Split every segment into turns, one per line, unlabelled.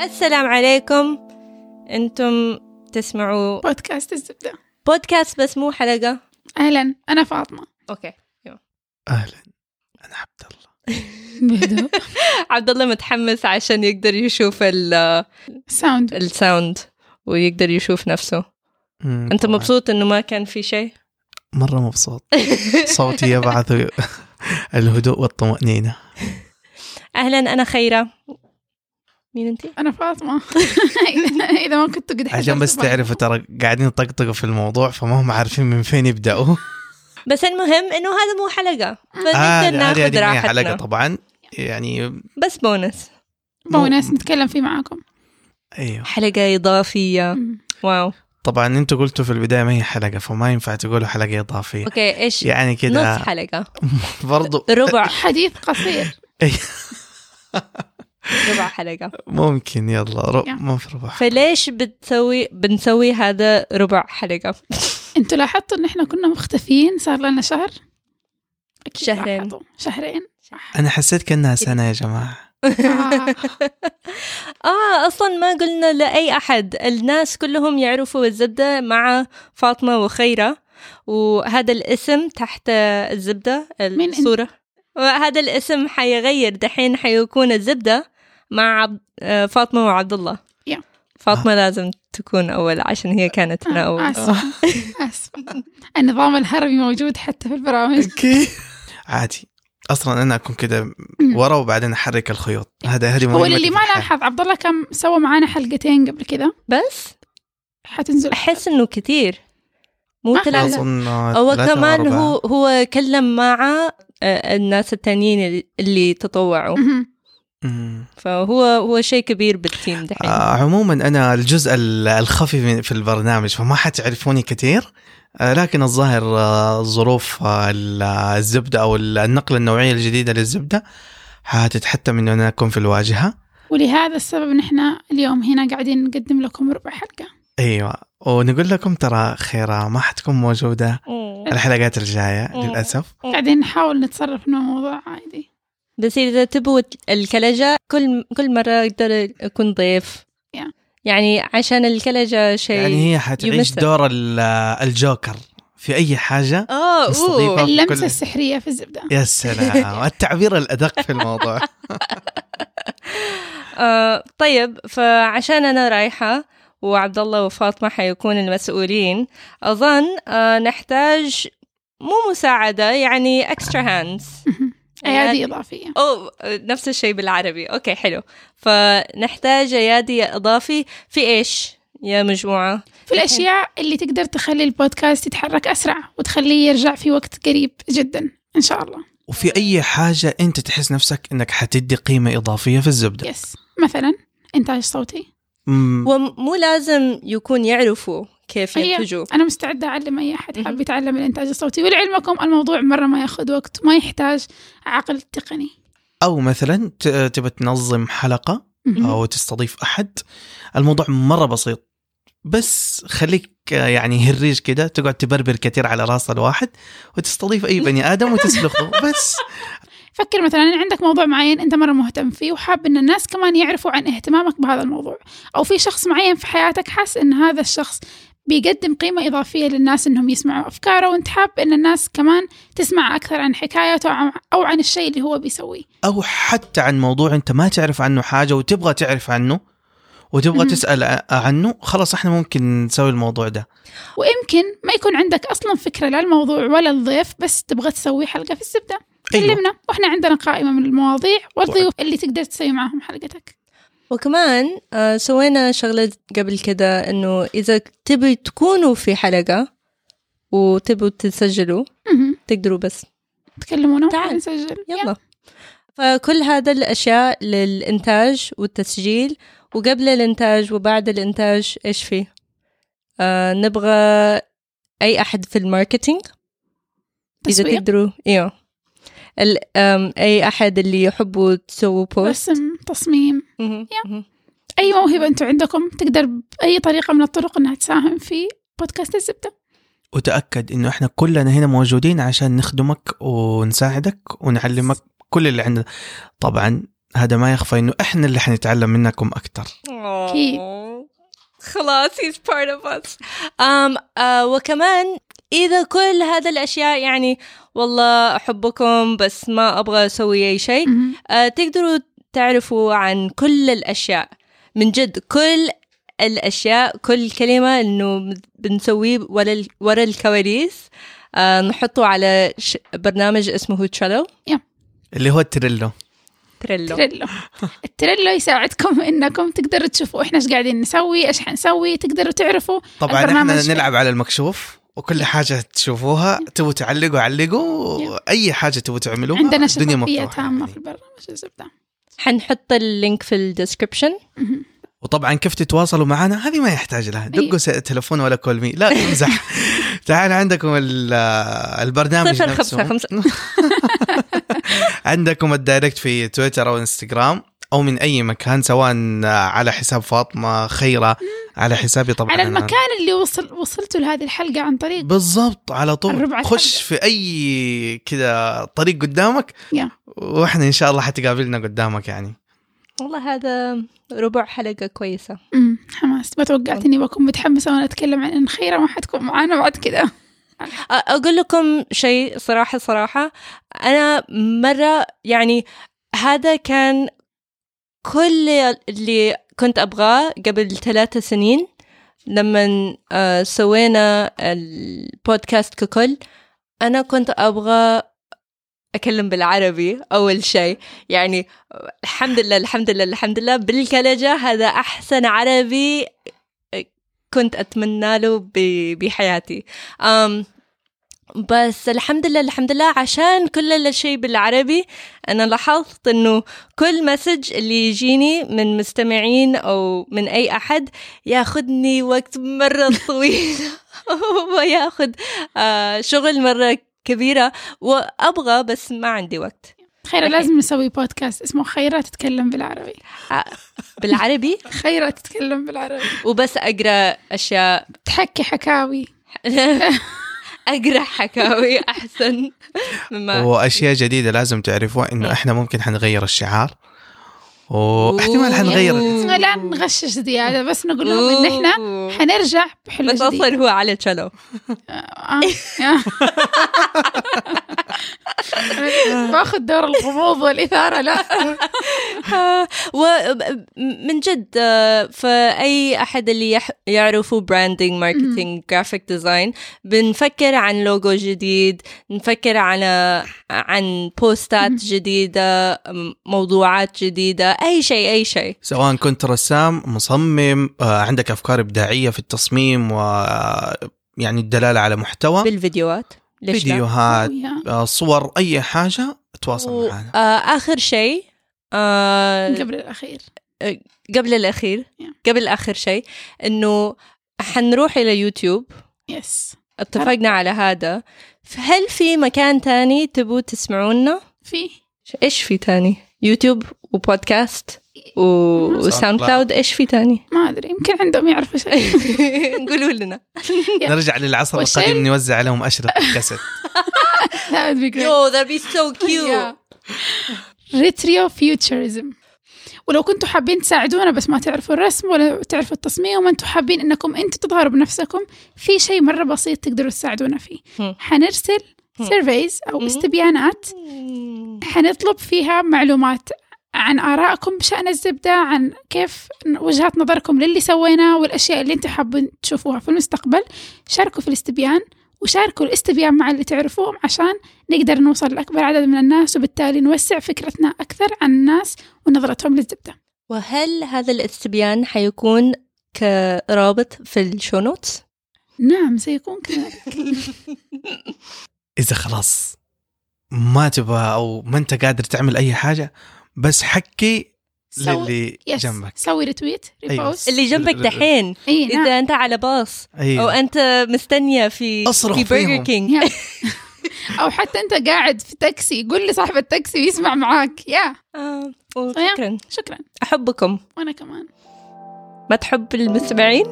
السلام عليكم انتم تسمعوا
بودكاست الزبدة
بودكاست بس مو حلقة
أهلا أنا فاطمة
اوكي
اهلا انا عبد الله
بهدوء
عبد الله متحمس عشان يقدر يشوف ال-
ساوند
الساوند ويقدر يشوف نفسه
أمم،
انت
طبعاً.
مبسوط انه ما كان في شيء
مره مبسوط صوتي يبعث الهدوء والطمأنينة
اهلا انا خيرة مين انت
أنا فاطمة إذا- إذا ما كنتوا قد
عشان بس
حضرتوا
تعرفوا ترى قاعدين يطقطقوا في الموضوع فما هم عارفين من فين يبدأوا
بس المهم انه هذا مو حلقة
آه،
فنقدر
هذه- هذه
ناخذ
ما هي حلقة
راحتنا
طبعا يعني
بس بونس
بونس نتكلم فيه معاكم
أيوه.
ايوه
حلقة
آه.
إضافية
مم.
واو
طبعا انتوا قلتوا في البداية ما هي حلقة فما ينفع تقولوا حلقة إضافية
اوكي ايش
يعني كده
نص حلقة
برضو
ربع
حديث قصير
ربع حلقة
ممكن يلا رو...
يا.
ما في ربح
فليش بتسوي بنسوي هذا ربع حلقة
أنتوا لاحظتوا إن إحنا كنا مختفيين صار لنا شهر أكيد
شهرين.
لاحظوا. شهرين
أنا حسيت كأنها سنة يا جماعة
آه.
اه اصلا ما قلنا لاي احد الناس كلهم يعرفوا الزبدة مع فاطمة وخيرة وهذا الاسم تحت الزبدة
مين انت؟
الصورة وهذا الاسم حيغير دحين حيكون الزبدة مع عبد... آه، فاطمة وعبد الله
يا.
فاطمة لازم تكون أول عشان هي كانت
آه،
هنا أول
آسفة آسفة النظام الهرمي موجود حتى في البرامج
اوكي عادي اصلا انا اكون كده ورا وبعدين احرك الخيوط هذا هذه
هو
مهمتي
اللي
في
ما
الحياة.
لاحظ عبد الله كان سوى معانا حلقتين قبل كذا
بس
حتنزل
أحس إنه كثير مو
ما حد-
ثلاثة
اظن
هو
ثلاثة
كمان
وأربعة.
هو هو كلم مع آه، الناس التانيين اللي تطوعوا
مهم.
أمم.
فهو هو شيء كبير بالتيم دحين
آه عموما انا الجزء ال- الخفي من- في البرنامج فما حتعرفوني كثير آه لكن الظاهر آه، ظروف آه، ال- آه، الزبده او ال- النقله النوعيه الجديدة للزبده حتتحتم انه انا اكون في الواجهه
ولهذا السبب نحن اليوم هنا قاعدين نقدم لكم ربع حلقة
ايوه ونقول لكم ترى خيره ما حتكون موجوده
أوه.
الحلقات الجايه
أوه.
للاسف
قاعدين نحاول نتصرف انه موضوع عادي
بس اذا تبوا الكلجه كل كل مره اقدر اكون ضيف
Yeah.
يعني عشان الكلجه شيء
يعني هي حتعيش
يمثل.
دور ال- الجوكر في اي حاجه
اه
مستضيفة.
أوه.
في
اللمسة
كل-
السحرية في الزبدة
يا سلام التعبير الادق في الموضوع
آه طيب فعشان انا رايحه وعبد الله وفاطمه حيكون المسؤولين اظن آه نحتاج مو مساعده يعني اكسترا هاندز
مهم. أيادي إضافية
أو نفس الشيء بالعربي أوكي حلو فنحتاج أيادي إضافي في إيش يا مجموعة
في الأشياء اللي تقدر تخلي البودكاست يتحرك أسرع وتخليه يرجع في وقت قريب جدا إن شاء الله
وفي اي حاجه انت تحس نفسك انك حتدي قيمه اضافيه في الزبده
يس مثلا إنتاج صوتي
مم،
ومو لازم يكون يعرفوا كيف
أيوة.
ينتجوا
أنا مستعدة أعلم أي أحد
مهم.
حاب يتعلم الإنتاج الصوتي ولعلمكم الموضوع مرة ما ياخذ وقت وما يحتاج عقل تقني
او مثلا ت- تبى تنظم حلقه
مهم.
او تستضيف احد الموضوع مره بسيط بس خليك آه، يعني هريج كده تقعد تبربر كثير على راس الواحد وتستضيف اي بني ادم وتسلخه بس
فكر مثلا إن عندك موضوع معين انت مره مهتم فيه وحاب ان الناس كمان يعرفوا عن اهتمامك بهذا الموضوع او في شخص معين في حياتك حاس ان هذا الشخص بيقدم قيمة إضافية للناس إنهم يسمعوا أفكاره وأنت حاب إن الناس كمان تسمع أكثر عن حكايته أو عن- أو عن الشيء اللي هو بيسويه
او حتى عن موضوع انت ما تعرف عنه حاجه وتبغى تعرف عنه وتبغى
مم.
تسال ع- عنه خلاص احنا ممكن نسوي الموضوع ده
ويمكن ما يكون عندك أصلا فكرة لا الموضوع ولا الضيف بس تبغى تسوي حلقة في الزبدة
أيوة.
ايوه
كلمنا وإحنا عندنا قائمة من المواضيع والضيوف اللي تقدر تسوي معهم حلقتك
وكمان آه سوينا شغلة قبل كده إنه إذا تبي تكونوا في حلقة وتبوا تسجلوا
مهم.
تقدروا بس
تكلمونا
تعال.
تعال نسجل
يلا فكل هذا الأشياء للإنتاج والتسجيل وقبل الإنتاج وبعد الإنتاج إيش فيه؟ آه نبغى أي أحد في الماركتينج إذا
تسويق.
تقدروا إيوه ال- أم، أي أحد اللي يحبوا تسووا بوست
رسم تصميم
مهم، مهم.
اي موهبه انتم عندكم تقدر باي طريقه من الطرق انها تساهم في بودكاست الزبده
وتاكد انه احنا كلنا هنا موجودين عشان نخدمك ونساعدك ونعلمك كل اللي عندنا طبعا هذا ما يخفى انه احنا اللي حنتعلم منكم اكثر
أكيد.
أوه. خلاص he's part of us um, uh, وكمان إذا كل هذا الأشياء يعني والله أحبكم بس ما أبغى أسوي أي شيء
مهم.
آه، تقدروا تعرفوا عن كل الأشياء من جد كل الأشياء كل كلمة إنه بنسويه ورا ال- ورا الكواليس آه، نحطه على ش- برنامج اسمه تريلو
اللي هو التريلو
تريلو
تريلو التريلو يساعدكم انكم تقدروا تشوفوا احنا ايش قاعدين نسوي ايش حنسوي تقدروا تعرفوا
طبعا احنا
البرنامج-
نلعب على المكشوف وكل حاجة تشوفوها تبوا تعلقوا علقوا أي حاجة تبوا تعملوها
عندنا شفافيه
الدنيا مفتوحة
تامه
يعني.
في البرنامج الزبده
حنحط اللينك في الديسكربشن
مهم.
وطبعا كيف تتواصلوا معنا هذه ما يحتاج لها
إيه.
دقوا س- تلفون ولا كول مي لا امزح تعال عندكم ال- البرنامج
صفر
نفسه
خمسة خمسة
عندكم الدايركت في تويتر او انستغرام او من اي مكان سواء على حساب فاطمه خيره على حسابي طبعا
على
أنا.
المكان اللي وصل وصلتوا لهذه الحلقه عن طريق
بالضبط على
الربع
طول خش في اي كذا طريق قدامك
يا.
واحنا ان شاء الله حتقابلنا قدامك يعني
والله هذا ربع حلقة كويسة
مم، حماس ما توقعت اني بكون متحمسه وانا اتكلم عن ان خيره ما حتكون معانا بعد كذا
أ- أقول لكم شيء صراحة صراحة أنا مرة يعني هذا كان كل اللي كنت أبغاه قبل ثلاثة سنين لما آه، سوينا البودكاست ككل أنا كنت أبغى أكلم بالعربي أول شيء يعني الحمد لله الحمد لله الحمد لله بالكلجة هذا أحسن عربي كنت أتمنى له ب- بحياتي أم بس الحمد لله الحمد لله عشان كل الشيء بالعربي أنا لاحظت إنه كل مسج اللي يجيني من مستمعين أو من أي أحد ياخذني وقت مرة طويل وياخذ آه، شغل مرة كبيرة وأبغى بس ما عندي وقت
خيره لازم نسوي بودكاست اسمه خيره تتكلم بالعربي
بالعربي
خيره تتكلم بالعربي
وبس أقرأ أشياء
تحكي حكاوي
أقرأ حكاوي أحسن مما
واشياء جديده لازم تعرفوها انه احنا ممكن حنغير الشعار واحتمال
إيه. أوه.
حنغير
أوه.
يعني لا نغشش زياده بس نقول لهم ان احنا
أوه.
حنرجع بحلو
بس
جديد
أصلا هو على تشالو
آه. باخذ دور الغموض والاثاره لا
ومن جد آه، فأي أحد اللي يح- يعرفوا براندنج ماركتينج جرافيك ديزاين بنفكر عن لوجو جديد نفكر على عن بوستات جديدة م- موضوعات جديدة أي شيء أي شيء
سواء كنت رسام مصمم آه، عندك افكار ابداعيه في التصميم و يعني الدلاله على محتوى
بالفيديوهات ليش لا؟
فيديوهات
يا.
آه، صور اي حاجه تواصل
و-
معنا
آه، آخر شيء آه،
قبل الاخير
قبل الأخير
Yeah.
قبل آخر شيء إنه حنروح إلى يوتيوب
يس
اتفقنا على هذا فهل في مكان تاني تبوا تسمعونا؟
في
إيش في تاني؟ يوتيوب وبودكاست و...
ساوند
وساوند
كلاود.
كلاود إيش في تاني؟
ما ادري يمكن عندهم يعرفوا شيء
قولوا لنا
نرجع للعصر
والشيء-
القديم نوزع لهم أشرطة كاسيت
That would be great.
يو ذا بي سو كيوت
ريتريو فيوتشرزم ولو كنتوا حابين تساعدونا بس ما تعرفوا الرسم ولا تعرفوا التصميم وانتوا حابين انكم انتوا تظهروا بنفسكم في شيء مره بسيط تقدروا تساعدونا فيه
هم.
حنرسل سيرفيز او
هم.
استبيانات حنطلب فيها معلومات عن آرائكم بشأن الزبدة عن كيف وجهات نظركم للي سويناه والأشياء اللي انتم حابين تشوفوها في المستقبل شاركوا في الاستبيان وشاركوا الاستبيان مع اللي تعرفوهم عشان نقدر نوصل لأكبر عدد من الناس وبالتالي نوسع فكرتنا أكثر عن الناس ونظرتهم للزبدة
وهل هذا الاستبيان حيكون كرابط في الشو نوتس؟
نعم سيكون كذلك
إذا خلاص ما تبغى أو ما أنت قادر تعمل أي حاجة بس حكي
سوي
للي
يس
جنبك
سوي ريتويت ريبوست
اللي جنبك دحين
اي نعم
اذا انت على باص او
أيوة.
انت مستنيه في
أصرخ
في
فيهم.
برجر كينج
يا. او حتى انت قاعد في تاكسي قول لصاحب التاكسي يسمع معاك يا
آه،
Oh,
وشكرا
شكرا
احبكم
وانا كمان
ما تحب المستمعين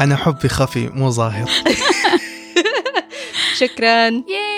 أنا حبي خفي مو ظاهر
شكرا
ياي